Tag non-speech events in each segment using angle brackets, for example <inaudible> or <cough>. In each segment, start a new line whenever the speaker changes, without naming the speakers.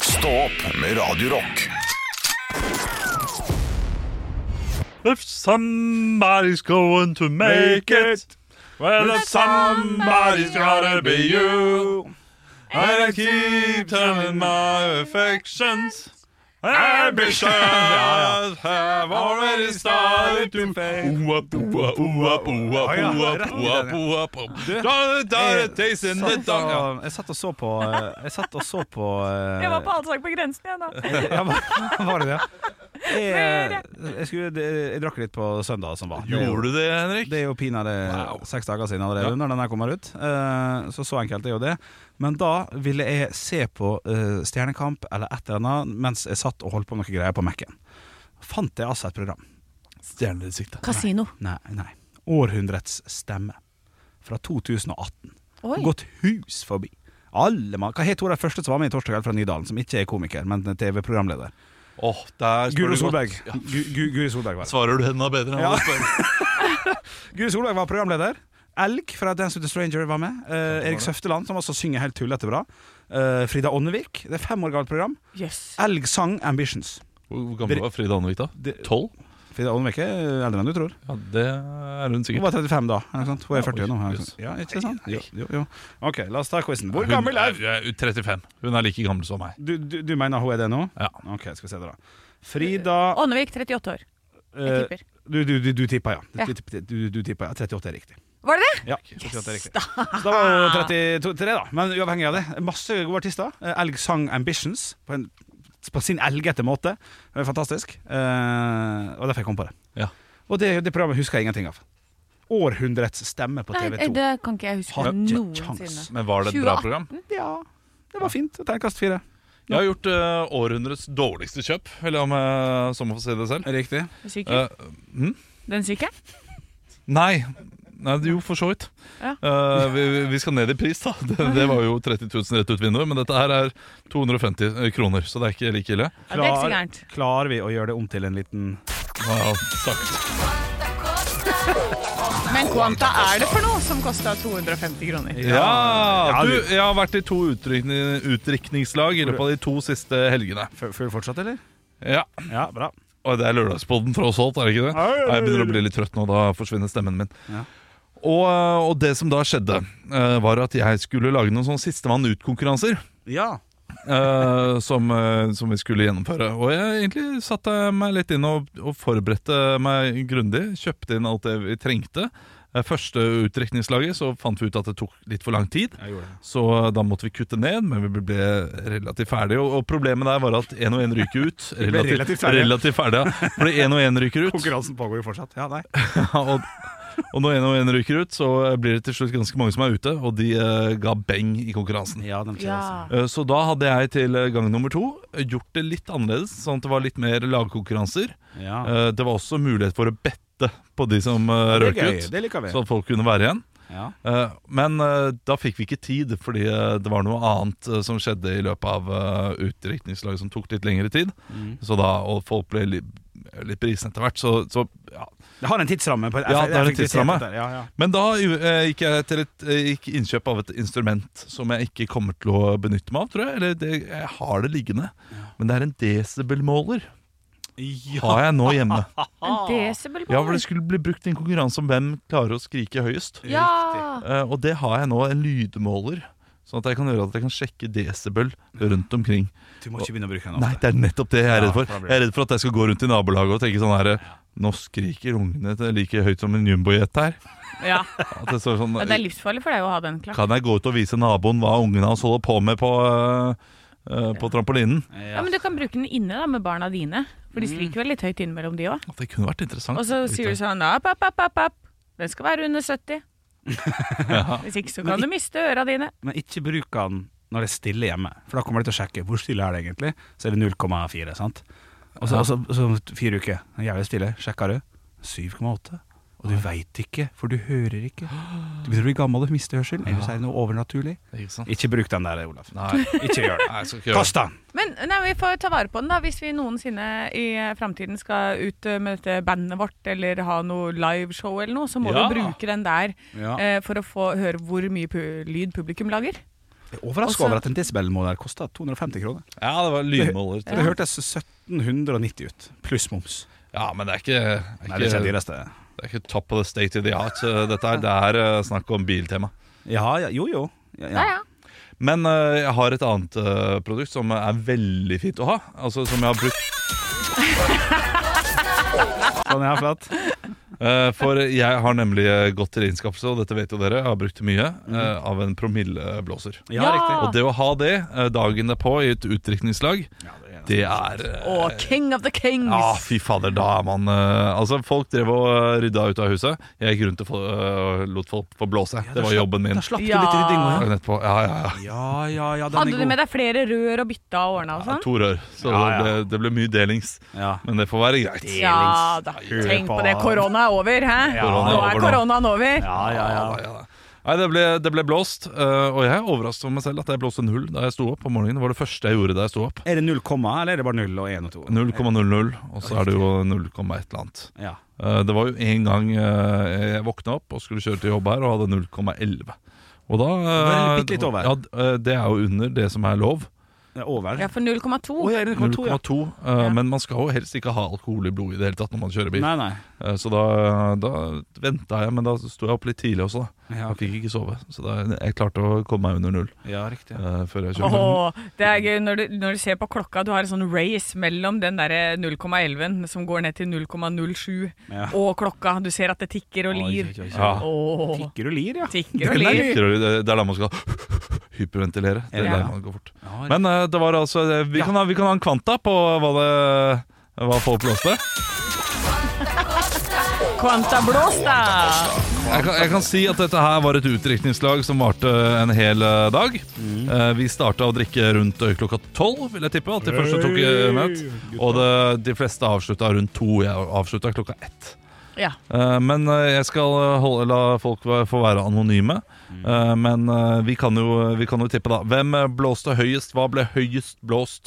Stå opp med Radio Rock.
If somebody's going to make it Well, if somebody's gotta be you I keep telling my affections Ambitions have already started to fade Ah, Oop, oop, oop, oop, oop, oop, oop, oop. Da, da, da, days in the
Jeg satt
dark.
og- Jeg satt og så på eh, Jeg satt og så på eh,
Jeg var på Allsang på grensen igjen, da.
<laughs> ja, var, var det det? Jeg, jeg, skulle, jeg drakk litt på søndag som var. Det er jo-
Gjorde du det, Henrik?
Det er jo pinadø seks dager siden allerede,
Ja.
når den her kommer ut. Eh, Så så enkelt er jo det. Men da ville jeg se på eh, Stjernekamp eller et eller annet mens jeg satt og holdt på med noen greier på Mac-en. Fant jeg altså et program.
Stjernesiktet.
Kasino.
Nei, nei. Århundrets stemme. Fra 2018.
Oi.
Gått hus forbi. Alle mann. Hva het hun den første som var med i Torsdag kveld fra Nydalen, som ikke er komiker, men TV-programleder?
Åh, der spør du
Guro
godt.
Solberg.
Ja.
Gu- Gu- Guri Solberg var det.
Svarer du henne bedre enn
Ja.
å spørre?
Guri Solberg var programleder. Elg fra Dance with a Stranger var med. Eh, Erik Søfteland, som også synger helt tullete bra. Eh, Frida Åndevik. Det er fem år gammelt program.
Jøss.
Elg sang 'Ambitions'.
Hvor gammel var Frida Andevik da?
Det-
Tolv?
Frida Åndevik er eldre enn du tror.
Ja, det er hun
Hun
sikkert.
var 35 da. Ikke sant? Hun er
Ja,
40 nå.
oi,
ikke sant? Ja, ikke sant? Jo, jo, jo. Ok, la oss ta quizen. Hvor
Hun
gammel er
er eh, 35. Hun er like gammel som meg.
du, du? Du mener hun er det nå?
Ja.
Ok, skal vi se det, da. Frida
Åndevik, 38 år. Jeg
eh,
tipper.
du, du, du, du tippa, ja.
Ja.
Du, du, du, du tippa, ja. 38 er riktig.
Var det det?
Ja, 38 er riktig. Så da var det 33, da. Men uavhengig av det. Masse gode artister. Eh, Elg sang 'Ambitions' på, en, på sin elgete måte. Det var Fantastisk. Eh, og derfor jeg kom på det.
Ja.
Og det, det programmet husker jeg ingenting av. Århundrets stemme på
Nei,
TV 2.
det kan ikke jeg huske
Har ikke
noensinne.
kjangs.
Men var det et bra program?
Ja, det var fint. Terningkast fire.
Jeg har gjort eh, århundrets dårligste kjøp, eller om jeg så må få si det selv.
Riktig.
Den syke?
Eh, hm?
Den syke?
Nei. Nei, det- jo, for så vidt.
Ja.
Eh, vi, vi- vi skal ned i pris, da. Det, det var jo 30 000 rett ut vinduet, men dette her er 250 eh, kroner, så det er ikke like ille.
Ja, det er ikke så
Klar-
gærent.
Klarer vi å gjøre det om til en liten
Ja, sagt.
Men Quanta er det for noe som kosta 250 kroner?
Ja,
Ja,
du,
du-
jeg har vært i to utdrikning, utdrikningslag i løpet av de to siste helgene.
Før før fortsatt, eller?
Ja,
Ja, bra.
Og det er lørdagspodden tross alt, er det ikke det?
Ja, ja, ja, ja.
Nei, Jeg begynner å bli litt trøtt nå, da forsvinner stemmen min.
Ja.
Og, eh, og det som da skjedde, eh, var at jeg skulle lage noen sånn sistemann ut-konkurranser.
Ja.
eh, <laughs> som, eh, som vi skulle gjennomføre. Og jeg egentlig satte meg litt inn og, og forberedte meg grundig. Kjøpte inn alt det vi trengte. Eh, Første utdrikningslaget så fant vi ut at det tok litt for lang tid.
Jeg gjorde det.
Så da måtte vi kutte ned, men vi ble relativt ferdige. Og, og problemet der var at én og én ryker ut.
<laughs> ble relativt ferdige.
relativt ferdige, ja. Fordi én og én ryker
<laughs>
ut.
Konkurransen pågår jo fortsatt. Ja, nei.
og, <laughs> og når én og én ryker ut, så blir det til slutt ganske mange som er ute, og de eh, ga beng i konkurransen.
Ja, den skjer
Ja.
Eh, Så da hadde jeg til gang nummer to gjort det litt annerledes, sånn at det var litt mer lagkonkurranser.
altså. Ja.
Eh, Det var også mulighet for å bette på de som eh,
Det er
røk
gøy.
ut,
Det liker vi.
så at folk kunne være igjen.
Ja.
Eh, Men eh, da fikk vi ikke tid, fordi eh, det var noe annet eh, som skjedde i løpet av eh, utdrikningslaget som tok litt lengre tid.
Mm.
Så da, og folk ble li- litt brisen etter hvert, så, så ja.
Det har en tidsramme. På,
Ja, det har en tidsramme.
Ja, ja.
Men da eh, gikk jeg til et, eh, gikk innkjøp av et instrument som jeg ikke kommer til å benytte meg av, tror jeg. Eller det, jeg har det liggende. Men det er en desibelmåler. Har jeg nå hjemme.
En
Ja, for det
desibelmåler?
skulle bli brukt i en konkurranse om hvem klarer å skrike høyest.
Ja!
Eh, og det har jeg nå, en lydmåler. Sånn at jeg kan gjøre at jeg kan sjekke desibel rundt omkring.
Du må ikke begynne å bruke den
Nei,
ofte.
det er nettopp det jeg er redd for.
Ja, da blir det.
Jeg er redd for at jeg skal gå rundt i nabolaget og tenke sånn her Nå skriker ungene til- like høyt som en jumbojet her.
Ja.
At det står sånn
Ja, Det er livsfarlig for deg å ha den klar.
Kan jeg gå ut og vise naboen hva ungene hans holder på med på, øh, øh, på trampolinen?
Ja, Men du kan bruke den inne da, med barna dine, for de
Mm.
skriker vel litt høyt innimellom de òg.
At Det kunne vært interessant.
Og så sier du sånn app, app, app, app, app. Den skal være under
<laughs>
70. Hvis ikke så kan du miste øra dine.
Men ikke bruk den når det er stille hjemme. For da kommer de til å sjekke hvor stille er det egentlig. Så er det 0,4. sant? Og så, og så, så om fire uker. Den er Jævlig stille. Sjekker du. 7,8. Og du veit ikke, for du hører ikke. Du begynner å bli gammel og mister hørselen. Ellers er det noe overnaturlig.
Ikke sant?
Ikke bruk den der, Olaf.
Nei,
Ikke gjør det.
nei, jeg skal ikke gjøre det.
Kast den!
Men nei, vi får ta vare på den da hvis vi noensinne i framtiden skal ut eh, med dette bandet vårt eller ha noe liveshow eller noe, så må
Ja.
vi bruke den der
Ja.
eh, for å få høre hvor mye pu lyd publikum lager.
Jeg er overraska
Også-
over at en desibelmåler kosta 250 kroner.
Ja, det var lynmåler.
Det hørtes 1790 ut, pluss moms.
Ja, men det er ikke, det
Nei,
er
det er
ikke,
det dyreste.
det er ikke top of the state of the art. eh, Dette er, det er eh, snakk om biltema.
Ja, ja, jo, jo. Ja, ja.
Ja, ja.
Men eh, jeg har et annet eh, produkt som er veldig fint å ha. Altså Som jeg har brukt.
Sånn, ja, flott.
Eh, for jeg har nemlig eh, gått til innskaffelse, og dette vet jo dere, jeg har brukt mye, eh, av en promilleblåser.
Mhm. Ja,
Ja.
riktig.
Og det å ha det eh, dagen derpå i et utdrikningslag,
Ja, det er-
det er eh,
Og king of the kings.
Ja, fy fader, da er man eh, Altså, folk drev og eh, rydda ut av huset. Jeg gikk rundt og få- eh, lot folk få blåse.
Ja,
det
da
var
slapp-
jobben min.
Da slapp du
Ja.
litt rydding òg, ja.
Dagen etterpå. Ja, ja, ja.
Ja, ja, ja, den
Hadde
er
du
god.
med deg flere rør og bytta og ordna og sånn?
To rør. Så
Ja,
det
ja.
ble- det ble mye delings.
Ja.
Men det får være greit.
Ja da.
Hør
Tenk på
på
det.
han.
Korona er over, hæ?
Ja,
nå
korona er
er
over nå.
koronaen over.
Ja, ja, ja.
Ja, ja. Nei, det ble, det ble blåst, eh, og jeg er overrasket over meg selv at jeg blåste null da jeg sto opp om morgenen. Det var det første jeg gjorde da jeg sto opp.
Er det null komma, eller er det bare null og én og to?
0,00, og så er det jo 0, et eller annet.
Ja.
Eh, Det var jo en gang eh, jeg våkna opp og skulle kjøre til jobb her og hadde 0,11. Og da
er
eh,
det bitte litt over.
Ja, d- eh, det er jo under det som er lov.
Det er over.
Ja, for 0,2.
Å, ja, er det 0,2, ja.
0,2. eh, Men man skal jo helst ikke ha alkohol i blodet i det hele tatt når man kjører bil.
Nei, nei.
Eh, Så da, da venta jeg, men da sto jeg opp litt tidlig også, da.
Ja,
Jeg fikk ikke sove. Så da, jeg klarte å komme meg under null
ja riktig.
eh, før jeg kjørte.
Åh, det er gøy når du, når du ser på klokka, du har en sånn race mellom den derre 0,11 som går ned til 0,07,
Ja.
og klokka. Du ser at det tikker og
Oi,
lir.
oi, oi, oi.
Ja.
Åh,
Tikker og lir, ja.
tikker og
Det er
lir.
litt rolig, Det det er der man skal <laughs> hyperventilere. Det er
Ja.
der man går fort.
Ja,
Men eh, det var altså det- Vi,
Ja.
kan, ha, vi kan ha en kvanta på hva det hva folk blåste.
Kvantablås, da!
Jeg kan, jeg kan si at dette her var et utdrikningslag som varte en hel eh, dag.
Mm.
Eh, Vi starta å drikke rundt eh, klokka tolv, vil jeg tippe. At de første tok eh, møt. Og det, de fleste avslutta rundt to. Jeg avslutta klokka ett.
Ja.
Eh, Men eh, jeg skal eh, holde, la folk va- få være anonyme.
Mm.
Eh, Men eh, vi kan, jo, vi kan jo tippe, da. Hvem eh, blåste høyest? Hva ble høyest blåst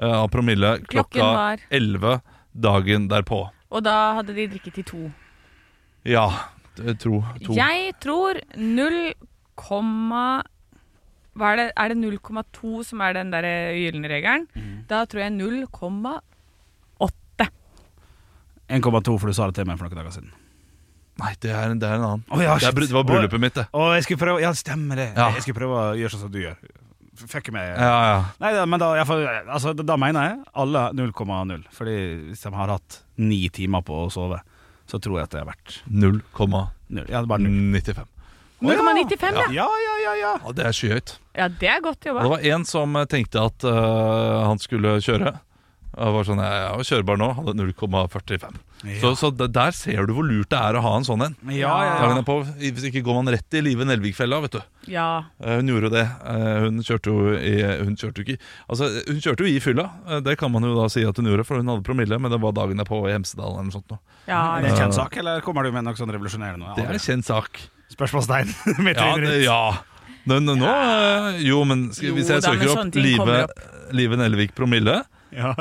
eh, av promille
Klokken
klokka
var
11 dagen derpå?
Og da hadde de drikket i to.
Ja, jeg tror to.
Jeg tror 0, hva er det, er det 0,2 som er den der gylne regelen? Da tror jeg 0,8.
1,2, for du sa det til meg for noen dager siden.
Nei, det er, det er en annen.
Å, ja,
det, er, bry-
shit.
det var bryllupet mitt, det.
Å, jeg skulle prøve Ja, stemmer det.
Ja.
Jeg skulle prøve å gjøre sånn som du gjør. F- Fucke meg.
Ja, ja.
Nei, da, men da, jeg får, altså, da- da mener jeg alle 0,0. Fordi hvis de har hatt ni timer på å sove, så tror jeg at det er verdt
0,95.
null. Ja, det er bare null.
0,95, ja.
Ja, ja, ja, ja.
Ja, det er skyhøyt.
Ja, det er godt
Og det
jobba.
var en som eh, tenkte at eh, han skulle kjøre. Og var sånn, jeg er jo kjørbar nå, hadde 0,45. Så, så d- der ser du hvor lurt det er å ha en sånn en.
Ja, ja,
Dagen
ja.
derpå, i- Hvis ikke går man rett i live Nelvik-fella, vet du.
Ja.
Eh, Hun gjorde jo det. Eh, Hun kjørte jo, i, hun kjørte jo ikke Altså, hun kjørte jo i fylla. Eh, Det kan man jo da si at hun gjorde, for hun hadde promille, men det var dagen derpå i Hemsedal eller noe sånt. Nå.
ja,
Er
ja.
det en kjent sak, eller kommer du med noe sånn revolusjonerende? nå?
Det er en kjent sak.
<laughs> Spørsmålstegn.
Ja,
Mitt tryne
det,
rundt.
ja. Nå, nå, nå eh, Jo, men skal, hvis
Jo
jeg
da, men
søker
sånne
opp
ting
Live,
kommer
Live Nelvik promille
Ja.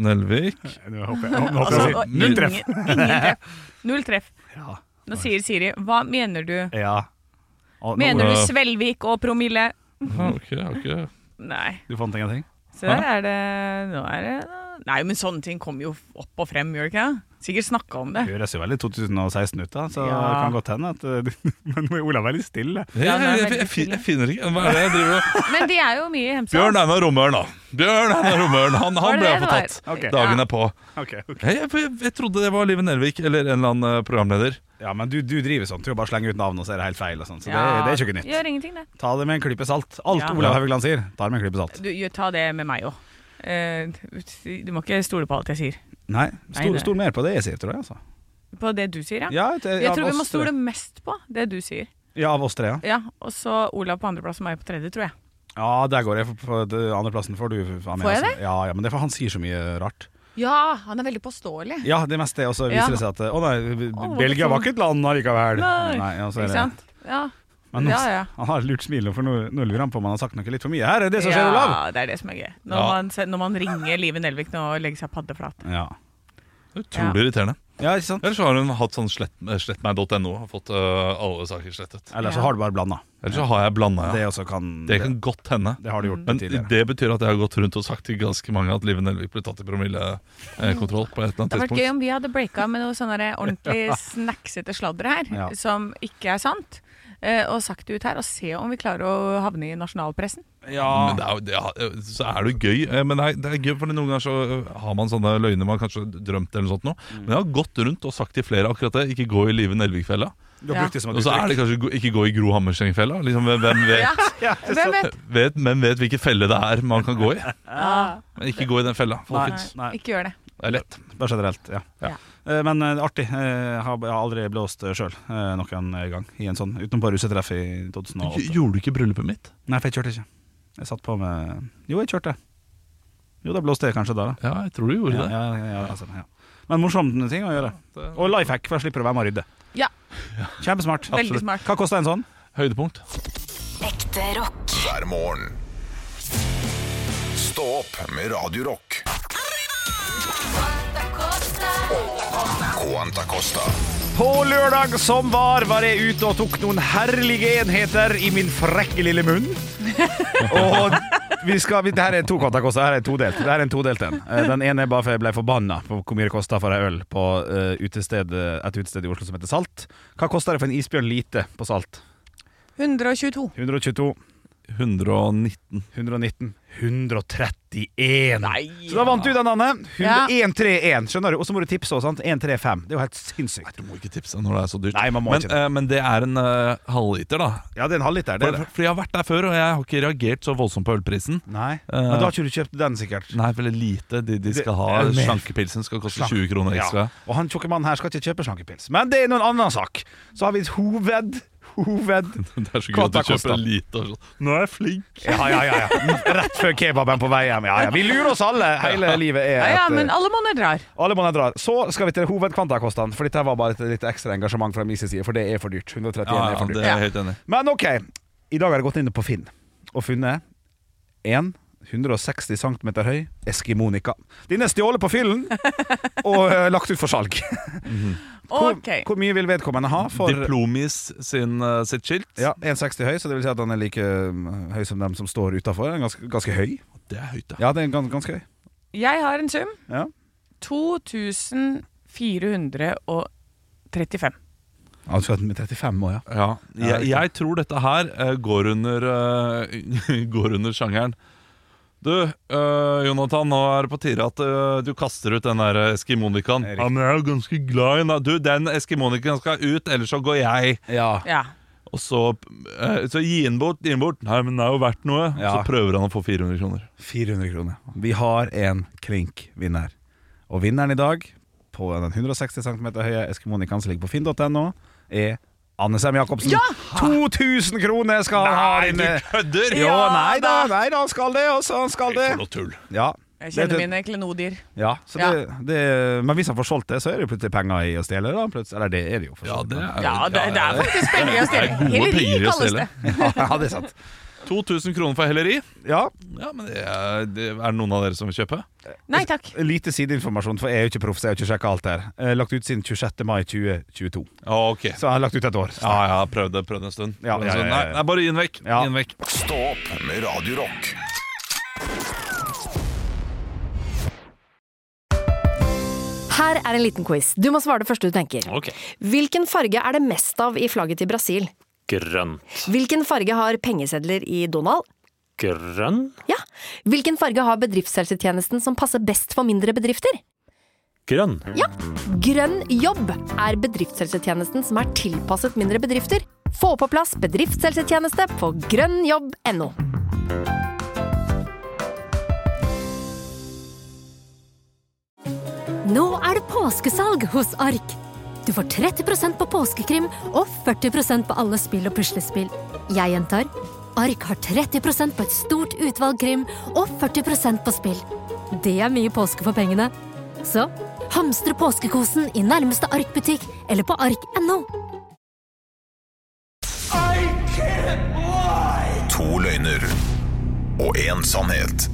Nelvik
Nå håper jeg, nå håper
Altså,
jeg å
og
si
ingen,
null treff.
ingen
<laughs>
treff. Null treff.
Ja.
Nå sier Siri hva mener du?
ja. Og, nå-
Mener du Svelvik og promille?
Ja, ok, jeg har ikke-
Nei.
Du fant ingenting?
Så der er det Nå er det Nei, men sånne ting kommer jo opp og frem, gjør det ikke? det? Sikkert snakka om det.
<laughs> Høres jo veldig 2016 ut, da, så det
Ja.
kan godt hende at eh, <laughs> Men Olav er litt stille.
Ja,
jeg,
den er
jeg,
veldig
jeg, fin-
stille.
jeg finner ikke Hva er det jeg driver med?
Men de er jo mye i Hemsedal.
Bjørn Einar Romøren, da. Bjørn Einar Romøren, han,
Var
han
det
ble
det
jeg
det
fortatt.
var?
Ok.
Dagen
Ja.
er på.
Ok, ok.
Jeg, jeg, jeg, jeg trodde det var Live Nelvik eller en eller annen eh, programleder.
Ja, men du, du driver sånn. Du bare slenger ut navn, og så er det helt feil. Og sånt, så
Ja,
det, det er ikke noe nytt.
Gjør ingenting, det.
Ta det med en klype salt. Alt
Ja.
Olav Haugland sier, ta det med en klype salt.
Du, gjør- ta det med meg òg. Du må ikke stole på alt jeg sier.
Nei,
Nei,
stol,
det-
stol mer på det jeg sier, tror jeg. Altså.
På det du sier, ja.
Ja, et-
Jeg
av
tror vi må
oss tre.
stole mest på det du sier.
Ja, av oss tre, ja.
Ja, Og så Olav på andreplass og meg på tredje, tror jeg.
Ja, der går jeg. For, for det- andreplassen får du. faen meg,
Får jeg
altså. Ja, ja, men det er for han sier så mye rart.
Ja, han er veldig påståelig.
Ja, det meste. Og så viser
Ja.
det seg at Å nei, B-
hvorfor?
Belgia var ikke et land allikevel.
Nei,
ja, så er
Ikke
det-
sant? Ja,
Men nå,
ja. ja.
<laughs> han har et lurt smil, nå, for nå, nå lurer han på om han har sagt noe litt for mye. Her er det som skjer, Olav!
Ja, det er det som er gøy. Når,
Ja.
man, se- når man ringer Live Nelvik nå og legger seg paddeflat.
Ja.
Utrolig irriterende.
Ja, ikke sant?
Ellers så har hun hatt sånn slett, eh, slettmeg.no og fått eh, alle saker slettet.
Eller så har du bare blanda.
Ellers så har jeg blanda,
Det
ja.
også kan
Det kan godt hende.
det har du gjort
Men
tidligere.
det betyr at jeg har gått rundt og sagt til ganske mange at Live Nelvik ble tatt i promillekontroll på et eller
Det hadde
annet
vært gøy
tidspunkt.
om vi hadde breaka med noe sånn der
<laughs>
ordentlig snacksete sladder her,
Ja.
som ikke er sant, eh, og sagt det ut her, og se om vi klarer å havne i nasjonalpressen.
Men det er, jo- det er, så er det jo gøy. eh, Men det er, det er gøy, for noen ganger så eh, har man sånne løgner man kanskje drømte eller noe sånt nå. Men jeg har gått rundt og sagt til flere akkurat det. Ikke gå i Live Nelvik-fella.
Du har
Ja.
brukt det som
Og
et
så er det kanskje gå- ikke gå i Gro Hammerseng-fella. Liksom, hvem- hvem vet?
Ja,
<laughs> Ja, det
<laughs>
er
hvem vet?
vet, men vet hvilken felle det er man kan gå i.
Ja.
Men ikke gå i den fella,
Nei,
folkens.
nei,
Ikke gjør det.
Det er lett.
bare generelt. Ja.
Ja.
Eh, Men eh, artig. eh, Jeg har jeg har aldri blåst sjøl noen gang i en sånn, utenom på russetreff i 2008.
Gjorde du ikke bryllupet mitt?
Nei, for jeg kjørte ikke. Jeg satt på med Jo, jeg kjørte. Jo, da blåste jeg kanskje da. da.
Ja, jeg tror du gjorde
Ja, ja, ja, altså, ja. Men morsomme ting å gjøre.
det.
Og life hack, for jeg slipper å være med og rydde.
Ja.
Kjempesmart.
Veldig Absolutt. smart.
Hva kosta en sånn?
Høydepunkt.
Ekte rock.
hver morgen. Stå opp med Radio Rock. Quanta Costa.
På lørdag som var, var jeg ute og tok noen herlige enheter i min frekke lille munn. Og vi skal, vi, det her er to kontakoster, her er todelt. Det her er en todelt en. Eh, Den ene er bare for jeg ble forbanna på hvor mye det kosta for ei øl på eh, utested, et utested i Oslo som heter Salt. Hva koster det for en isbjørn lite på Salt?
122.
122.
119.
119 131 Så da vant du den, Anne 131, skjønner du Og så må du tipse oss, sant? 135, det er jo helt sinnssykt
Du må ikke tipse når det er så dyrt.
Nei, man må
men,
ikke det.
eh, men det er en eh, halvliter, da.
Ja, det er en halvliter, det
For,
er det
for jeg har vært der før, og jeg har ikke reagert så voldsomt på ølprisen.
Nei, men da har ikke du kjøpt den sikkert
Nei, veldig lite. De, de skal
Det-
ha
det er mer.
Slankepilsen skal koste
Slank-
20 kroner
ja.
ekstra.
Og han tjokke mannen her skal ikke kjøpe slankepils Men det er noen annen sak Så har vi et hoved Hoved
Det er så gøy
Hva
at du
det koster?
kjøper lite. og sånn. Nå er jeg flink.
Ja, ja, ja, ja Rett før kebaben på vei hjem ja, ja. Vi lurer oss alle Hele livet er
Ja, ja,
et, eh,
men alle måneder drar.
Alle måneder drar. Så skal vi til hovedkvantakosten, for dette var bare et litt ekstra engasjement fra min side, for det er for dyrt. 131
Ja,
er
ja,
for dyrt.
det er jeg helt enig i.
Men ok, i dag har jeg gått inn på Finn og funnet en 160 cm høy Eskimonika. Den er stjålet på fyllen og eh, lagt ut for salg. Hvor,
Ok.
hvor mye vil vedkommende ha for
Diplomis sin, eh, sitt skilt.
ja, 1,60 høy, så det vil si at den er like eh, høy som dem som står utafor. Ganske, ganske høy.
Det er høyt, da.
Ja, det er gans, ganske høy.
Jeg har en sum.
Ja.
2435.
Han skal med 35 år, ja.
Ja,
Ja,
jeg,
riktig.
jeg tror dette her eh, går, under, eh, <laughs> går under sjangeren. Du, eh, Jonathan, nå er det på tide at eh, du kaster ut den der eskimonikaen.
Det er
Ja,
riktig.
men jeg er jo ganske glad i den. da. Du, den eskimonikaen skal ut, ellers så går jeg.
Ja,
Ja.
Og så, eh, så gi den bort, gi den bort. Nei, men den er jo verdt noe. Og
Ja.
Så prøver han å få 400 kroner.
400 kroner. Vi har en klink-vinner. Og vinneren i dag, på den 160 cm høye Eskemonikaen som ligger på finn.no, er Anne Sem Jacobsen. 2000 kroner skal han ha!
Nei, du
inne.
kødder!
Jo,
Ja
nei da,
da.
nei da, han skal det, også, han skal det.
For noe tull.
Ja,
Jeg
Det er-
kjenner mine klenodier.
ja, så det, det, men hvis han får solgt det, så er det jo plutselig penger i å stjele. Da, plutselig. Eller det er det jo. For
Ja,
så vidt,
det
men-
er,
Ja, det, det er faktisk penger i å
Det er
stjele.
gode penger i å
kalles
stjele.
det.
<laughs> ja, det er sant.
2000 kroner for helleri.
Ja,
Ja, men det er, det er det noen av dere som vil kjøpe?
Nei takk.
Lite sideinformasjon, for jeg er jo ikke proff, så jeg har ikke sjekka alt her. Eh, Lagt ut siden 26. mai 2022.
Ok.
Så jeg har lagt ut et år.
Ja, ja, prøv det, prøv det en stund.
Ja,
Prøv det en
ja,
stund.
ja, ja,
Nei,
ja.
nei, bare gi den vekk.
Ja.
Gi den vekk.
Stå opp med Radio Rock.
Her er en liten quiz. Du må svare det første du tenker.
Ok.
Hvilken farge er det mest av i flagget til Brasil?
Grønn.
Hvilken farge har pengesedler i Donald?
Grønn?
Ja. Hvilken farge har bedriftshelsetjenesten som passer best for mindre bedrifter?
Grønn.
Grønn jobb er bedriftshelsetjenesten som er tilpasset mindre bedrifter. Få på plass bedriftshelsetjeneste på grønnjobb.no.
Nå er det påskesalg hos Ark. Du får 30 på påskekrim og 40 på alle spill og puslespill. Jeg gjentar Ark har 30 på et stort utvalg krim og 40 på spill. Det er mye påske for pengene. Så hamstre påskekosen i nærmeste Ark-butikk eller på ark.no.
To løgner og én sannhet.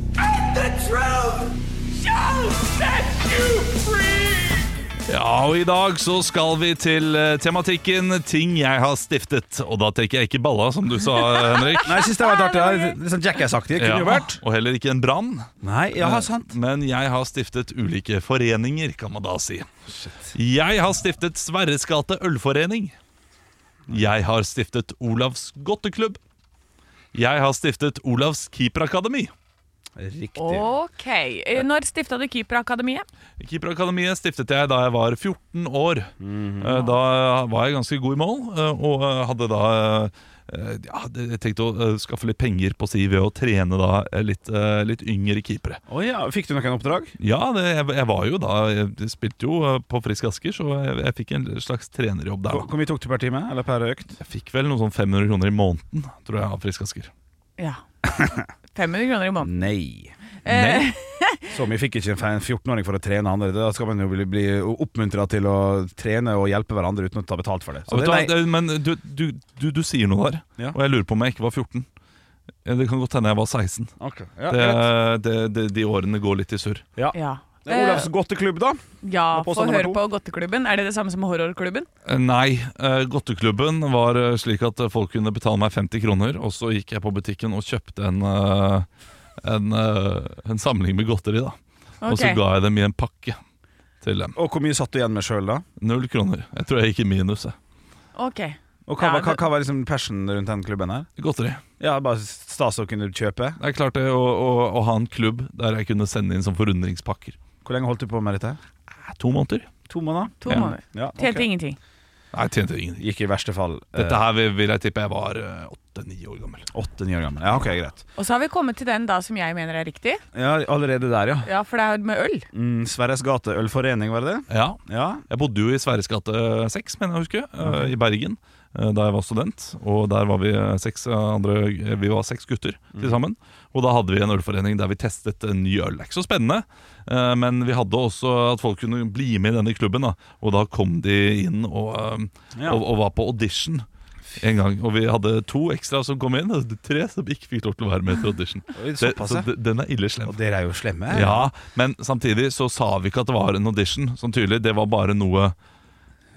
The truth shall set you free!
Ja, og i dag så skal vi til eh, tematikken ting jeg har stiftet. Og da tenker jeg ikke balla, som du sa,
<laughs>
Henrik.
Nei, jeg synes det var litt artig. da. Litt sånn Jackass-aktig. Kunne jo vært.
Og heller ikke en brann.
Nei, ja, sant.
Men jeg har stiftet ulike foreninger, kan man da si. Jeg har stiftet Sverres gate ølforening. Jeg har stiftet Olavs godteklubb. Jeg har stiftet Olavs keeperakademi.
Riktig.
Ok. Eh, Når stifta du Keeperakademiet?
Keeperakademiet stiftet jeg da jeg var 14 år.
Mhm.
Eh, Da var jeg ganske god i mål, eh, og eh, hadde da eh, ja, jeg tenkte å eh, skaffe litt penger på si ved å trene da eh, litt, eh, litt yngre keepere.
Å ja, Fikk du noen oppdrag?
Ja, det, jeg, jeg var jo da Jeg spilte jo eh, på Frisk Asker, så jeg, jeg fikk en slags trenerjobb der.
Hvor hvor mye tok du per time? Eller per økt?
Jeg fikk vel noe sånn 500 kroner i måneden, tror jeg, av Frisk Asker.
Ja. <laughs> 500 kroner i måneden.
Nei. Så mye fikk ikke en fe- 14-åring for å trene andre. Da skal man jo bli, bli oppmuntra til å trene og hjelpe hverandre uten å ta betalt for det. Så
Vet
det
du hva,
nei.
det- Men du, du, du, du sier noe der,
Ja.
og jeg lurer på om jeg ikke var 14. Eh, Det kan godt hende jeg var 16.
Ok, ja,
det,
greit.
det, det, de årene går litt i surr.
Mm. Ja.
Det er Olavs godteklubb, da.
Eh, Ja,
Og
få
påstand
sånn
nummer
høre
to.
på Godteklubben. Er det det samme som Horrorklubben?
Eh, Nei. eh, Godteklubben var eh, slik at eh, folk kunne betale meg 50 kroner, og så gikk jeg på butikken og kjøpte en, eh, en, eh, en samling med godteri, da. Og så
Ok.
ga jeg dem i en pakke til dem.
Og hvor mye satt du igjen med sjøl, da?
Null kroner. Jeg tror jeg gikk i minus. jeg.
Ok.
Og hva,
Ja,
var- hva,
det-
hva var liksom passion rundt den klubben her?
Godteri.
Ja, bare stas å kunne kjøpe.
Det er klart det å, å, å ha en klubb der jeg kunne sende inn som forundringspakker.
Hvor lenge holdt du på med dette?
Eh, To måneder.
To måneder?
To
Ja.
måneder.
Ja, ok.
Helt ingenting.
Nei, jeg tjente ingenting.
Gikk i verste fall eh,
Dette her vil, vil jeg tippe jeg var åtte-ni år gammel.
åtte-ni år gammel. Ja, ok, greit.
Og så har vi kommet til den da som jeg mener er riktig.
Ja, Allerede der, ja.
Ja, for det er jo med
<laughs>
øl.
Mm, Sverres gate ølforening, var det det?
Ja,
Ja.
Jeg bodde jo i Sverres gate 6, mener jeg å huske, eh, i Bergen. eh, Da jeg var student, og der var vi eh, seks, eh, andre, eh, vi var seks gutter
Mhm.
til sammen. Og da hadde vi en ølforening der vi testet en ny øl. Det er Ikke så spennende, eh, men vi hadde også at folk kunne bli med i denne klubben. Da. Og da kom de inn og, eh,
Ja.
og, og var på audition en gang. Og vi hadde to ekstra som kom inn, og tre som ikke fikk lov til å være med til audition.
<laughs> Oi,
Det,
Såpass,
så
ja.
d- den er ille slem.
Og dere er jo slemme.
Ja, men samtidig så sa vi ikke at det var en audition, sånn tydelig. Det var bare noe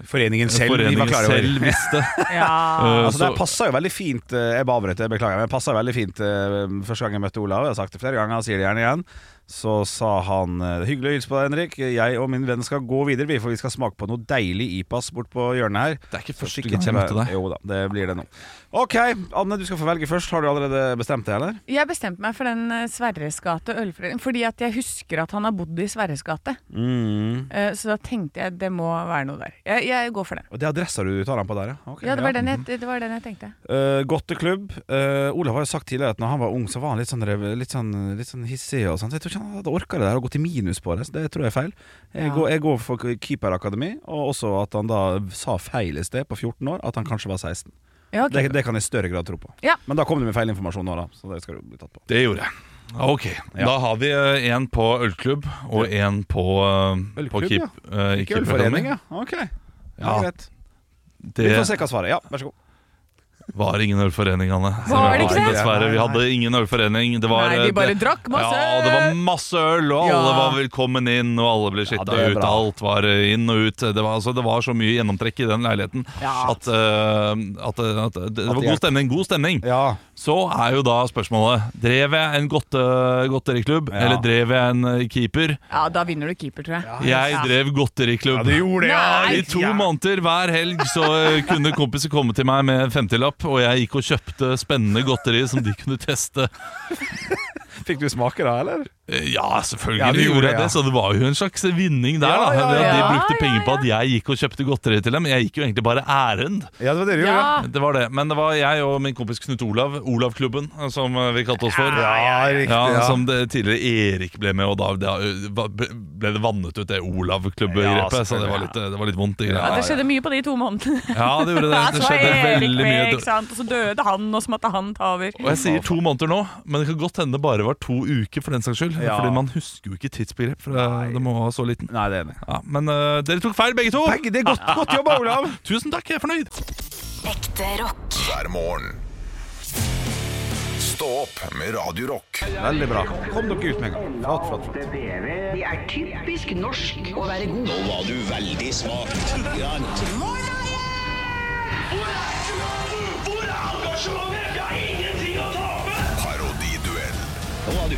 Foreningen selv. vi var
foreningen
klare over.
selv
<laughs>
visste.
Ja.
Eh,
Altså,
så-
det passer jo veldig fint eh, Jeg bare avbrøt, jeg beklager. Men det passer veldig fint eh, Første gang jeg møtte Olav, jeg har sagt det flere ganger, han sier det gjerne igjen, så sa han eh, 'Hyggelig å hilse på deg, Henrik. Jeg og min venn skal gå videre, vi, for vi skal smake på noe deilig IPAS bort på hjørnet her.
det er ikke
Så
første
skikkelig
gang jeg møtte
kjempe-
deg.
Jo da, det blir det nå. OK, Anne, du skal få velge først. Har du allerede bestemt det, eller?
Jeg bestemte meg for den eh, Sverres gate ølforening fordi at jeg husker at han har bodd i Sverres gate.
Mm.
Eh, Så da tenkte jeg det må være noe der. Jeg, jeg går for den.
Og Det er adressa du tar an på der, ja? Ok,
Ja, det var den jeg,
Mhm.
det var den jeg tenkte.
Eh, Godteklubb. Eh, Olav har jo sagt tidligere at når han var ung, så var han litt sånn, rev- litt sånn, litt sånn hissig. Og sånt. Jeg tror ikke han hadde orka det der og gått i minus på det. Så det tror jeg er feil. Jeg,
Ja.
går, jeg går for keeperakademi, og også at han da sa feil i sted, på 14 år, at han kanskje var 16.
Ja, ok.
Det, det kan jeg i større grad tro på.
Ja.
Men da kom du med feil informasjon nå, da. Så det skal du bli tatt på.
Det gjorde jeg. Ok,
Ja.
Da har vi eh, en på ølklubb og en på, eh, på
Ølklubb,
keep, eh, i
Ikke
Keeper
ølforening,
Academy.
ja. Ok. Ja.
Ja.
greit. Vi får
Det
se hva svaret er. Ja, vær så god.
var ingen ølforening, Anne.
Var det ikke det?
Dessverre. Vi hadde ingen ølforening. Det var,
Nei,
eh,
vi bare
det-
drakk masse
Ja, og det var masse øl, og alle
Ja.
var velkommen inn, og alle ble
Ja,
skittet
det er
ut.
bra.
Alt var eh, inn og ut. Det var, altså, det var så mye gjennomtrekk i den leiligheten
Ja.
at, eh, at, eh, at det, det var
hjelper.
god stemning. God stemning.
Ja.
Så er jo da spørsmålet Drev jeg en godte, godteriklubb,
Ja.
eller drev jeg en eh, keeper?
Ja, da vinner du keeper, tror jeg.
Jeg drev godteriklubb.
gjorde
Nei!
I to måneder hver helg så eh, kunne kompiser komme til meg med en femtilapp, og jeg gikk og kjøpte spennende godteri som de kunne teste.
Fikk du smake da, eller?
Eh, Ja, selvfølgelig
Ja, du gjorde
gjorde jeg
det,
det, så det var jo en slags vinning der.
Ja,
da
ja,
ved at De
ja.
brukte
Ja,
penger på at jeg gikk og kjøpte godteri til dem. Jeg gikk jo egentlig bare ærend.
Ja, det var det du gjorde.
Ja,
Det var det, Men det var jeg og min kompis Knut Olav, Olavklubben, eh, som eh, vi kalte oss for.
riktig.
Ja, Som det tidligere Erik ble med, og da, da ø, va- ble det vannet ut, det Olav-klubbgrepet.
Ja,
så det var,
selvfølgelig,
litt, det var litt vondt. i
ja,
greia.
det skjedde mye på de to månedene.
Ja, det gjorde det.
<laughs> Ja,
Det
så var
skjedde
Erik
veldig
med, ikke
mye.
sant? Og så døde han, og så måtte han ta over.
Og jeg sier to måneder nå, men det kan godt hende det bare var to uker. for den saks skyld
Ja.
Fordi man husker jo ikke tidsbegrep. For det, det må ha så liten
Nei, det er enig.
ja, Men ø, dere tok feil, begge to.
Begge, det er godt, godt jobba,
<laughs>
Olav.
Tusen takk, jeg er fornøyd.
Ekte rock.
hver morgen. Stå opp med Radio Rock.
Veldig bra. Kom dere ut med en gang. Flott, flott, flott.
Det er typisk norsk å være god.
Parodiduell.
Og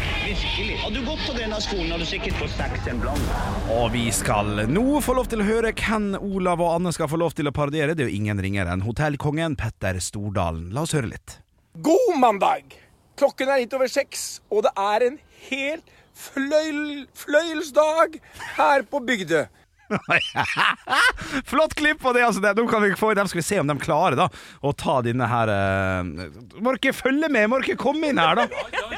vi skal nå få lov til å høre hvem Olav og Anne skal få lov til å parodiere. Det er jo ingen ringere enn hotellkongen Petter Stordalen. La oss høre litt.
God mandag! Klokken er litt over seks, og det er en hel fløyl, fløyelsdag her på Bygdø.
Flott klipp! Og det, er altså det. Nå kan vi få, dem skal vi se om de klarer da å ta denne her eh, Må dere følge med! Må dere komme inn her, da!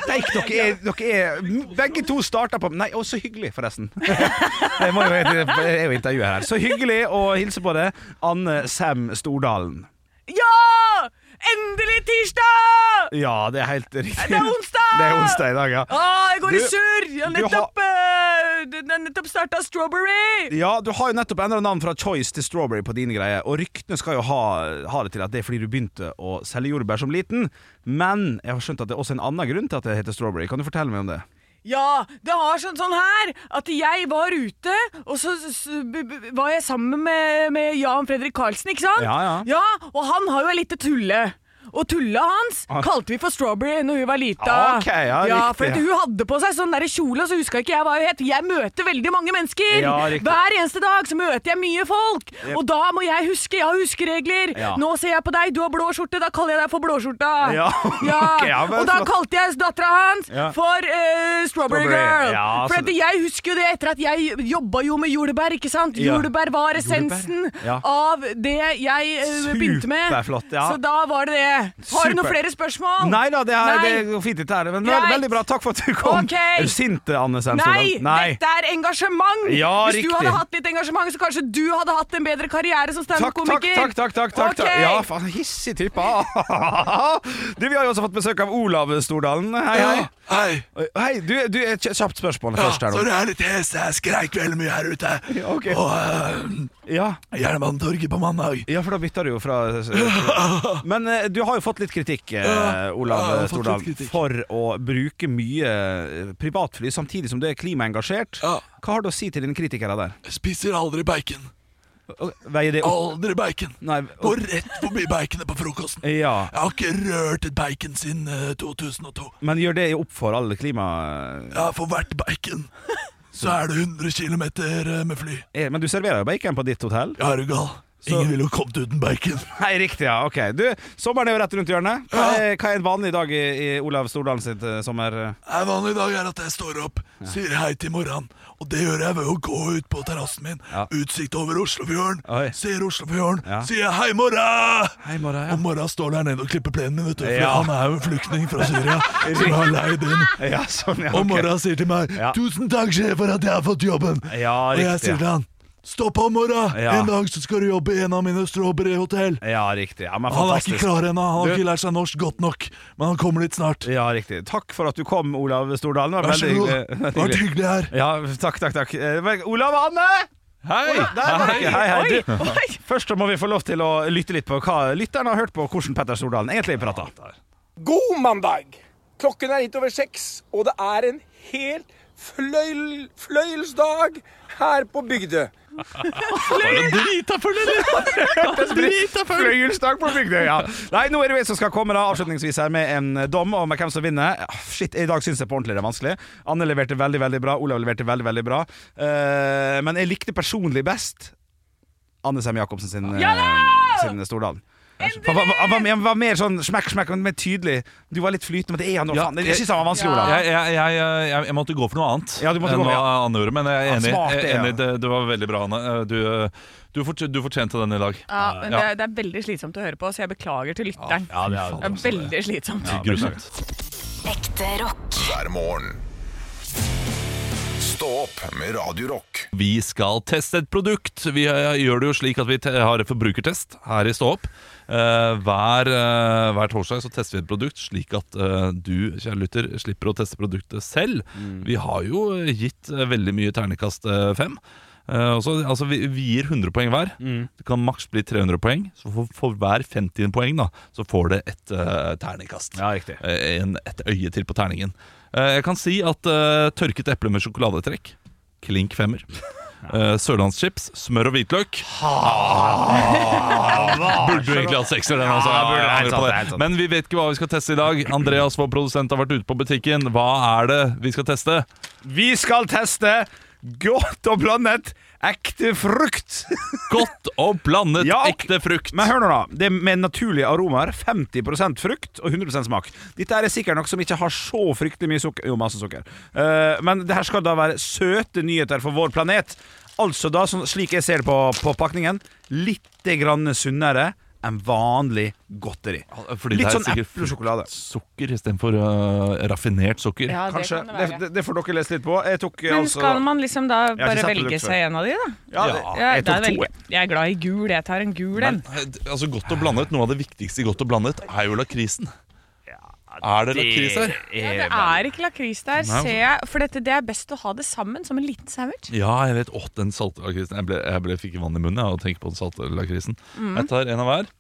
Deik, dere er, dere er Begge to starta på Nei, å, så hyggelig, forresten. <laughs> Det må jo, det er jo intervjuet her. Så hyggelig å hilse på deg, Anne Sem Stordalen.
Ja! Endelig tirsdag!
Ja, det er helt riktig.
Det er onsdag!
Det er onsdag i dag, ja.
Å, jeg går i
Du-
surr! Jeg har
du
nettopp, eh, det- det har nettopp starta Strawberry!
Ja, du har jo nettopp endra navn fra Choice til Strawberry på dine greier, og ryktene skal jo ha, ha det til at det er fordi du begynte å selge jordbær som liten, men jeg har skjønt at det er også en annen grunn til at det heter Strawberry. Kan du fortelle meg om det?
Ja, det har sånn sånn her at jeg var ute, og så s- b b var jeg sammen med, med Jan Fredrik Karlsen, ikke sant?
Ja, ja.
Ja, og han har jo ei lite tulle. Og tulla hans
Ah.
kalte vi for Strawberry når hun var lita.
Ok, ja, riktig.
for at hun hadde på seg sånn der kjole, og så huska ikke jeg hva hun het. Jeg møter veldig mange mennesker.
Ja, riktig.
Hver eneste dag så møter jeg mye folk.
Yep.
Og da må jeg huske. Jeg har huskeregler.
Ja.
Nå ser jeg på deg, du har blå skjorte, da kaller jeg deg for blåskjorta.
Ja, <laughs> ok, ja, men
og da
flott.
kalte jeg dattera hans
Ja.
for eh, Strawberry
Strawberry,
Girl.
ja, altså
for
så
at
det-
jeg husker jo det etter at jeg jobba jo med jordbær, ikke sant?
Ja.
Jordbær var essensen
ja.
av det jeg eh, begynte med.
Superflott, ja.
Så da var det det. Har du
Super.
noen flere spørsmål?
Nei da, det er, sånn-
Nei.
det går fint dette her. Men
Greit.
vel- veldig bra, takk for at du kom.
Ok.
Er du sint, Anne
Nei,
Semsvold?
dette er engasjement!
Ja,
Hvis
riktig.
du hadde hatt litt engasjement, så kanskje du hadde hatt en bedre karriere som
Takk, takk,
standup-komiker.
takk, takk, takk, takk, takk.
Ok.
Ja, faen, hissig type. <laughs> Du, vi har jo også fått besøk av Olav Stordalen. Hei, hei.
Hei.
Hei, du, du et kjapt spørsmål
Ja,
først her nå.
så det er litt hes. Jeg skreik veldig mye her ute.
<laughs> Ja, ok.
Og eh,
Ja.
Jernbanetorget på mandag.
Ja, for da bytta du jo fra
<laughs>
Men eh, du har jo fått litt kritikk, eh,
Ja, jeg
Olav
har fått litt
Stordalen,
kritikk.
for å bruke mye eh, privatfly samtidig som du er klimaengasjert.
Ja.
Hva har du å si til dine kritikere der?
Jeg Spiser aldri bacon.
Veier det opp?
Aldri bacon.
Nei,
Går rett forbi baconet på frokosten.
ja.
Jeg har ikke rørt et bacon siden eh, 2002.
Men gjør det opp for alle klima...
Ja, for hvert bacon så er det 100 km med fly.
Eh, Men du serverer jo bacon på ditt hotell?
Ja, er du gal? Ingen ville jo kommet uten bacon.
Nei, riktig, ja. Ok. Du, sommeren er jo rett rundt hjørnet. Hva er, hva er en vanlig dag i, i Olav Stordalen sitt eh, sommer...
En vanlig dag er at jeg står opp, sier hei til morgenen. Og det gjør jeg ved å gå ut på terrassen min.
Ja.
Utsikt over Oslofjorden.
Oi.
Ser Oslofjorden.
Ja.
Sier hei, morra!
Hei, morgen,
Og morra står der nede og klipper plenen min, vet du. For
Ja.
han er jo en flyktning
<laughs>
fra Syria. som har leid inn.
Ja, sånn, ja.
Og
ok.
morra sier til meg
Ja.
'Tusen takk, sjef, for at jeg har fått jobben'.
Ja,
og
riktig,
jeg
ja.
sier til han 'Stå på, morra!
Ja.
En dag så skal du jobbe i en av mine strawberry-hotell'.
Ja, riktig. Ja, men
Han er
fantastisk.
ikke klar ennå. Han
Du-
har ikke lært seg norsk godt nok. Men han kommer dit snart.
Ja, riktig. Takk for at du kom, Olav Stordalen. Det var
Vær så
veldig
god.
hyggelig.
Det har vært hyggelig her.
Ja, takk, takk, takk. Eh, vel, Olav og Anne! Hei! Der var dere. Hei, hei. Du, først så må vi få lov til å lytte litt på hva lytteren har hørt på hvordan Petter Stordalen egentlig prater.
God mandag! Klokken er litt over seks, og det er en hel fløyl, fløyelsdag her på Bygdø.
Fløyelsdag på Bygdøy, ja. Nei, nå er det vi som skal komme da, avslutningsvis her med en eh, dom om hvem som vinner. Ah, Shit, i dag syns jeg på ordentlig det er vanskelig. Anne leverte veldig, veldig bra. Olav leverte veldig, veldig bra. Eh, men jeg likte personlig best Anne Sem Jacobsen sin, eh, sin Stordalen. Han var, han var, han var mer sånn smekk, smekk, men mer tydelig. Du var litt flytende, men det er han jo
Ja,
faen. Jeg syns han var vanskelig, Olav.
Jeg, jeg, jeg, jeg, jeg måtte gå for noe annet
Ja, du måtte
enn
gå,
hva
ja.
Anne gjorde, men jeg er
Ja,
enig.
smart,
jeg
det,
er
ja.
enig. Det, det var veldig bra, Anne. Eh, Du, eh, du, fort, du fortjente den i dag.
Ja,
Ja.
men Det, er, det er veldig slitsomt å høre på, så jeg beklager til lytteren.
Ja, det
det er veldig slitsomt.
Grusomt.
Ekte rock.
hver morgen. Stå opp med Radio Rock.
Vi skal teste et produkt. Vi eh, gjør det jo slik at vi te- har en forbrukertest her i Stå opp. Eh, hver, eh, hver torsdag så tester vi et produkt, slik at eh, du, kjære lytter, slipper å teste produktet selv. Vi har jo eh, gitt eh, veldig mye ternekast eh, fem. Eh, og så- altså, vi, vi gir 100 poeng hver. Det kan maks bli 300 poeng. Så for, for hver 50 poeng da, så får det et eh, terningkast. Eh, en, et øye til på terningen. Eh, jeg kan si at eh, tørket eple med sjokoladetrekk, klink
<laughs>
femmer. Eh, Sørlandschips, smør og hvitløk. <laughs> Burde jo egentlig hatt sekser, den. Altså.
Ja, burde,
Jeg
helt
angrer
sant,
på det.
helt sant.
Men vi vet ikke hva vi skal teste i dag. Andreas, vår produsent, har vært ute på butikken. Hva er det vi skal teste?
Vi skal teste godt og blandet ekte frukt.
Godt og blandet
ekte
frukt.
Men hør nå da, det er med naturlige aromaer, 50 frukt og 100 smak. Dette er sikkert noe som ikke har så fryktelig mye sukker. Jo, masse sukker. Eh, men det her skal da være søte nyheter for vår planet. Altså da, sånn- slik jeg ser det på, på pakningen, litt grann sunnere enn vanlig godteri.
Fordi
litt
det er
sånn
sikkert
eplesjokolade.
Sukker istedenfor uh, raffinert sukker.
Ja, det
Kanskje.
kan det være.
Det, det får dere lese litt på. Jeg tok eh,
Men
altså
skal man liksom da
ikke
bare
sett det
velge
litt
seg
før.
en av de, da?
Ja, det- jeg
da
tok to,
velger- jeg er glad i gul. Jeg tar en gul en.
Men, eh, altså Godt og blandet, Noe av det viktigste i Godt og blandet er jo lakrisen. er det, lakris her?
Det er ikke lakris der,
Nei,
ser jeg. For dette, det er best å ha det sammen, som en liten sandwich.
Ja, jeg vet. Åh, den salte lakrisen. Jeg, ble, jeg ble, fikk vann i munnen jeg, av å tenke på den salte lakrisen.
Mm.
Jeg tar en av hver.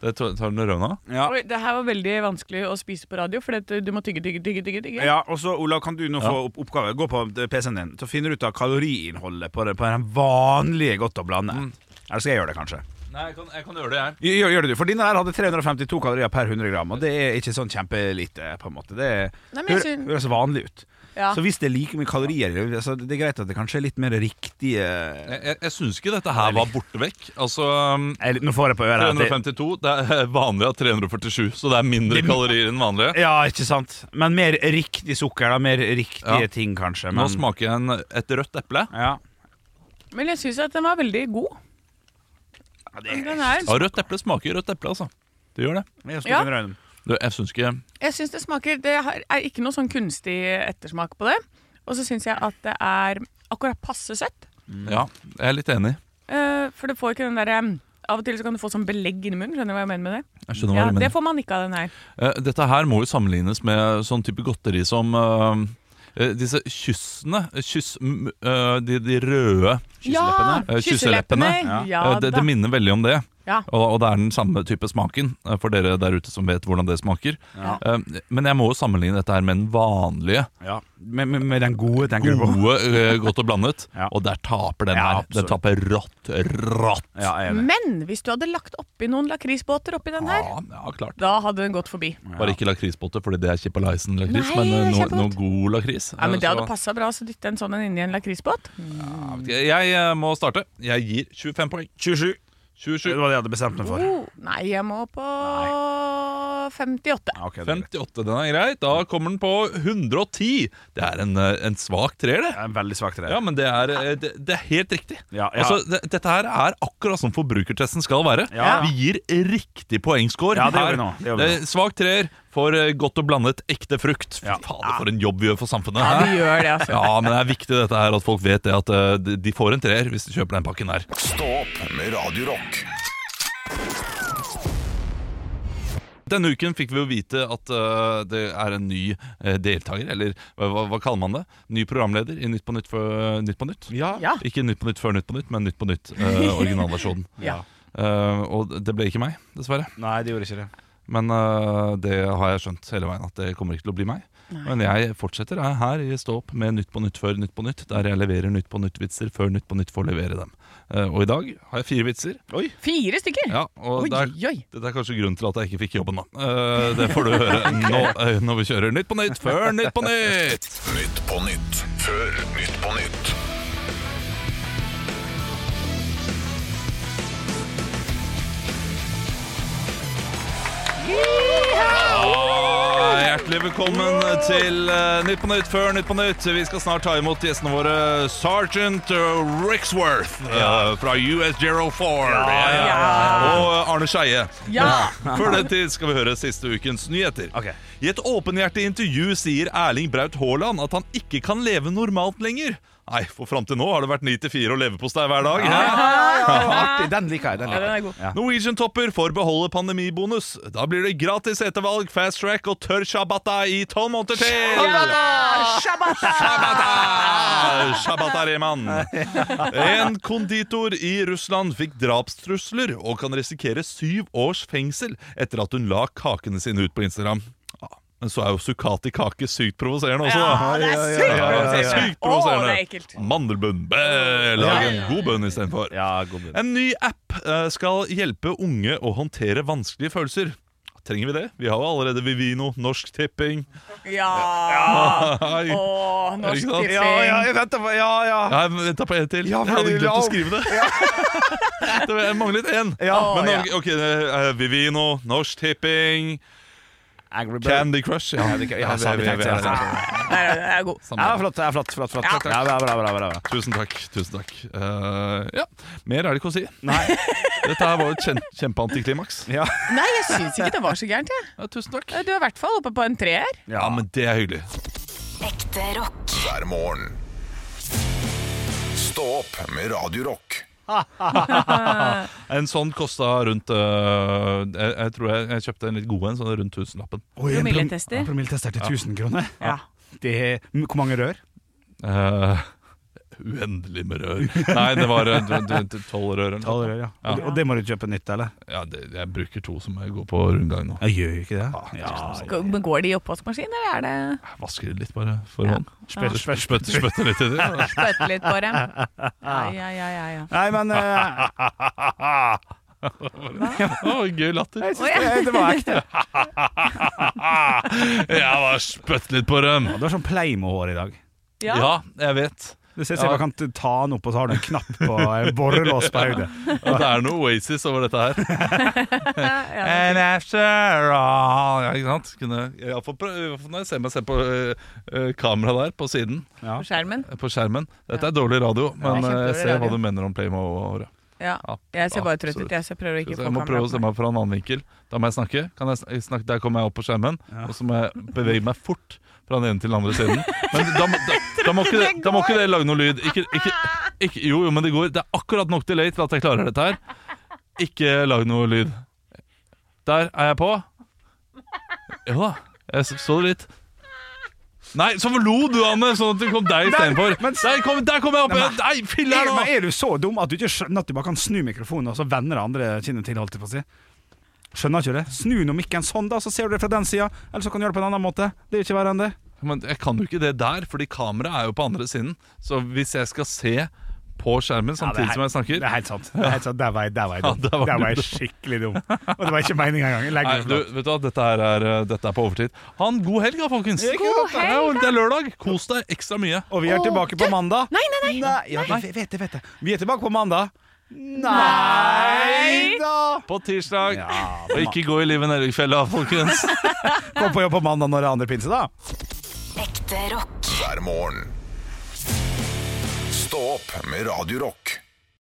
Det tar tar den røde.
Oi, det her var veldig vanskelig å spise på radio, for dette, du må tygge, tygge, tygge. tygge, tygge.
Ja, og så Olav, kan du nå
Ja.
få opp oppgave? Gå på eh, PC-en din Så finner du ut av kaloriinnholdet på, det, på den vanlige godt å blande.
Mm.
Eller skal jeg gjøre det, kanskje?
Nei, jeg kan, jeg kan gjøre det, jeg.
Gjør, gjør det du, for Dine der hadde 352 kalorier per 100 gram, og det er ikke sånn kjempelite. på en måte Det er-
Nei, men jeg
hø-
syn-
høres vanlig ut.
Ja.
Så hvis det er like mye kalorier i det, altså, Det er greit at det kanskje er litt mer eh, riktige
Jeg, jeg, jeg syns ikke dette her var borte vekk. Altså, um,
Nå får jeg på øret. her at
352. Det er <laughs> vanlig av 347, så det er mindre
Det-
kalorier enn vanlig.
det- Ja, ikke sant? Men mer riktig sukker, da. Mer riktige
Ja.
ting, kanskje.
Nå smaker jeg en, et rødt eple.
Ja.
Men jeg syns at den var veldig god. Den er,
rødt eple smaker rødt eple, altså. Det gjør det.
Jeg,
Ja.
du, jeg syns ikke
jeg syns det smaker Det har- er ikke noe sånn kunstig ettersmak på det. Og så syns jeg at det er akkurat passe søtt.
Ja, jeg er litt enig.
eh, for det får ikke den derre Av og til så kan du få sånn belegg inni munnen. Skjønner du hva jeg mener med det?
Jeg skjønner hva
ja,
du mener.
Det får man ikke av den her.
Eh, Dette her må jo sammenlignes med sånn type godteri som eh, eh, disse kyssene kyss, m, eh, de, de røde
Ja,
eh, kysseleppene.
kysseleppene. Ja.
Eh,
Ja
det,
da.
det minner veldig om det.
Ja.
Og, og det er den samme type smaken, eh, for dere der ute som vet hvordan det smaker.
Ja.
Eh, Men jeg må jo sammenligne dette her med den vanlige,
Ja. Med, med, med den gode, tenker du på?
gode eh, godt og
<laughs>
blandet. Og der taper den
Ja,
her. Den
absolutt.
taper rått, rått.
Ja, jeg
Men hvis du hadde lagt oppi noen lakrisbåter oppi den her,
ja, klart.
da hadde den gått forbi.
Bare ikke lakrisbotte, fordi det er Chippalaisen-lakris,
Nei,
men eh,
det
noe
er
noe god lakris.
Nei, men Det
Eh,
hadde
så-
passa bra å dytte en sånn en inni en lakrisbåt.
Jeg eh, må starte. Jeg gir 25 poeng.
27.
27.
Det var det jeg hadde bestemt meg for.
Oh, nei, jeg må på 58.
58, den er grei. Da kommer den på 110. Det er en, eh, en svak treer, det.
En veldig svak treer.
Ja, men det er, eh, det, det er helt riktig.
Ja, ja.
Altså, det, dette her er akkurat som forbrukertesten skal være.
Ja.
Vi gir riktig poengscore.
Ja, det gjør
her.
vi nå, det gjør vi
Eh, Svak treer for eh, godt og blandet ekte frukt. Fy Fader, for en jobb vi gjør for samfunnet.
Ja, vi gjør det, altså.
Ja, men det er viktig dette her, at folk vet det, at eh, de- de får en treer hvis de kjøper den pakken her.
Stå opp med Radio Rock.
Denne uken fikk vi jo vite at øh, det er en ny uh, deltaker, eller hva, hva- hva kaller man det? Ny programleder i Nytt på Nytt før Nytt på Nytt.
Ja.
Ikke Nytt på Nytt før Nytt på Nytt, men Nytt på Nytt,
<laughs>
øh, originalversjonen.
Ja.
Øh, og det ble ikke meg, dessverre.
Nei, det gjorde ikke det.
Men øh, det har jeg skjønt hele veien, at det kommer ikke til å bli meg.
Nei.
Men jeg fortsetter jeg, her i Stå opp med Nytt på Nytt før Nytt på Nytt, der jeg leverer Nytt på Nytt-vitser før Nytt på Nytt får levere dem. Eh, og i dag har jeg fire vitser.
Fire stykker?
Ja, og
Oi,
det, er,
oi, oi.
dette er kanskje grunnen til at jeg ikke fikk jobben, da. Eh, det får du høre nå, eh, når vi kjører Nytt på Nytt før Nytt på Nytt.
Nytt på nytt før Nytt på nytt.
Ah, Hjertelig velkommen til eh, Nytt på Nytt før Nytt på Nytt. Vi skal snart ta imot gjestene våre Sergeant eh, Rixworth eh, fra US Gerald Ford og eh, Arne Skeie.
Ja.
<laughs> Før den tid skal vi høre siste ukens nyheter. I et åpenhjertig intervju sier Erling Braut Haaland at han ikke kan leve normalt lenger. Nei, for fram til nå har det vært 9-4 og leverpostei hver dag. <laughs>
Artig. Den liker jeg. Den liker jeg. Ja.
Norwegian-topper får beholde pandemibonus. Da blir det gratis ettervalg, fast track og tørr shabbata i tolv måneder til! Shabbata! Shabbatariman. En konditor i Russland fikk drapstrusler og kan risikere syv års fengsel etter at hun la kakene sine ut på Instagram. Ja, Men så er jo sukati kake sykt provoserende også. da.
Ja, det er sykt
Ja, ja, det er
provoserende.
sykt provoserende.
Å, det er ekkelt.
Mandelbunn. Bæ, Lag en god bunn istedenfor.
Ja, god bunn.
En ny app eh, skal hjelpe unge å håndtere vanskelige følelser. Trenger vi det? Vi har jo allerede Vivino, Norsk Tipping.
Ja.
Nei.
Åh, norsk
Ikke sant?
tipping.
Ja, ja, jeg
venter på Ja, ja.
Ja, Jeg venta på en til.
Ja,
jeg hadde
fordi-
glemt
ja.
å skrive det. <laughs> det var- jeg manglet én.
Ja.
Men
Å,
ok, ok, eh, Vivino, Norsk Tipping Candy Crush.
Ja, det- ja, samme
vi- vi- vi-
tekst, ja, samme
Nei, nei, det er god.
Ja, flott, ja, flott, flott, flott, flott. Ja, bra, bra, bra, bra, bra.
Tusen takk. tusen takk Eh, Ja, Mer er det ikke å si. Nei Dette her var jo et kjem- kjempeantiklimaks.
Ja.
Nei, jeg syns ikke det var så gærent, jeg.
tusen takk.
Du er i hvert fall oppe på en treer.
ja, men det er hyggelig.
Ekte rock.
hver morgen. Stå opp med Radio Rock.
en sånn kosta rundt eh, jeg, jeg tror jeg, jeg kjøpte en litt god en, sånn rundt tusenlappen.
Oi, en prom- ja, Promilletester til 1000 kroner.
Ja.
Det, m- hvor mange rør?
Eh, uendelig med
<laughs>
rør. Nei, det var eh, d- d- d- tolv rør. eller noe.
Tolv rør, ja. Og, og det må du kjøpe nytt, eller?
Ja, det, jeg bruker to som jeg går på rundgang nå.
Jeg gjør jo ikke det. Ah, Ja,
Gå- Men går de i oppvaskmaskin, eller er det
Jeg vasker det litt bare for hånd.
Spøt-
Spøtter spøtter- spøtter litt i det. ja.
<laughs>
Spøtte litt på
<laughs>
dem? Ja, ja, ja, ja, ja.
Nei, men eh,
Å, gøy latter.
Jeg synes det, det var ekte.
Jeg var spøtt litt på dem.
Du har sånn pleimehår i dag.
Ja. jeg vet.
Du ser
Ja.
jeg kan ta den opp, og så har du en knapp på en borrelås på hodet.
Og det er noe Oasis over dette her. And after all Ja, ikke sant? Kunne, jeg får prøve, i hvert fall når jeg ser meg selv på uh, kameraet der, på siden.
På skjermen?
På skjermen. Dette er dårlig radio, men
Ja,
eh, jeg
kjempedårlig
ser hva
radio.
du mener om Playmo-året.
Ja. Jeg ser bare trøtt ut, jeg, så jeg prøver å ikke få
jeg må
kamera
prøve
på
å se meg fra en annen vinkel. Da må jeg snakke. Kan jeg sn- snakke? Der kommer jeg opp på skjermen, og så må jeg bevege meg fort fra den ene til den andre siden. Men da, må- da,
<laughs>
da, må, ikke det, da må ikke det lage noe lyd. Ikke, ikke, ikke, jo, jo, men det går. Det er akkurat nok delay til at jeg klarer dette her. Ikke lag noe lyd. Der er jeg på. Jo da, jeg s- så det litt. Nei, så lo du, Anne, sånn at det kom deg istedenfor. Der, kom- der kom jeg opp! igjen. Nei, filler
er,
nå!
men er du så dum at du ikke skjønner at du bare kan snu mikrofonen, og så vender det andre kinnet til, holdt jeg på å si? Skjønner ikke du det? Snu nå mikken sånn, da, så ser du det fra den sida, eller så kan du gjøre det på en annen måte. Det er ikke verre enn det.
Men jeg kan jo ikke det der, fordi kameraet er jo på andre siden. Så hvis jeg skal se på skjermen samtidig som jeg snakker
Det er helt sant. Det er helt sant. Der var jeg, der var jeg
Ja,
dum.
der var
der
du
var jeg
dum.
skikkelig dum. Og det var ikke meninga engang. Jeg
Nei,
legger
du,
det flat.
vet du hva, dette her er, eh, dette er på overtid. Ha en god helg, da, folkens!
Ikke sant, da?
Det er jo- Det er lørdag! Kos deg ekstra mye.
Og vi er tilbake på mandag.
Nei,
nei, nei! Ja,
nei.
jeg vet det, vet det. Vi er tilbake på mandag.
Nei
da!
På tirsdag. og ikke gå i livet Nelvik-fella, folkens.
Kom på jobb på mandag når det er andre pinse, da.
Ekte rock.
Hver morgen. Stå opp med Radio Rock.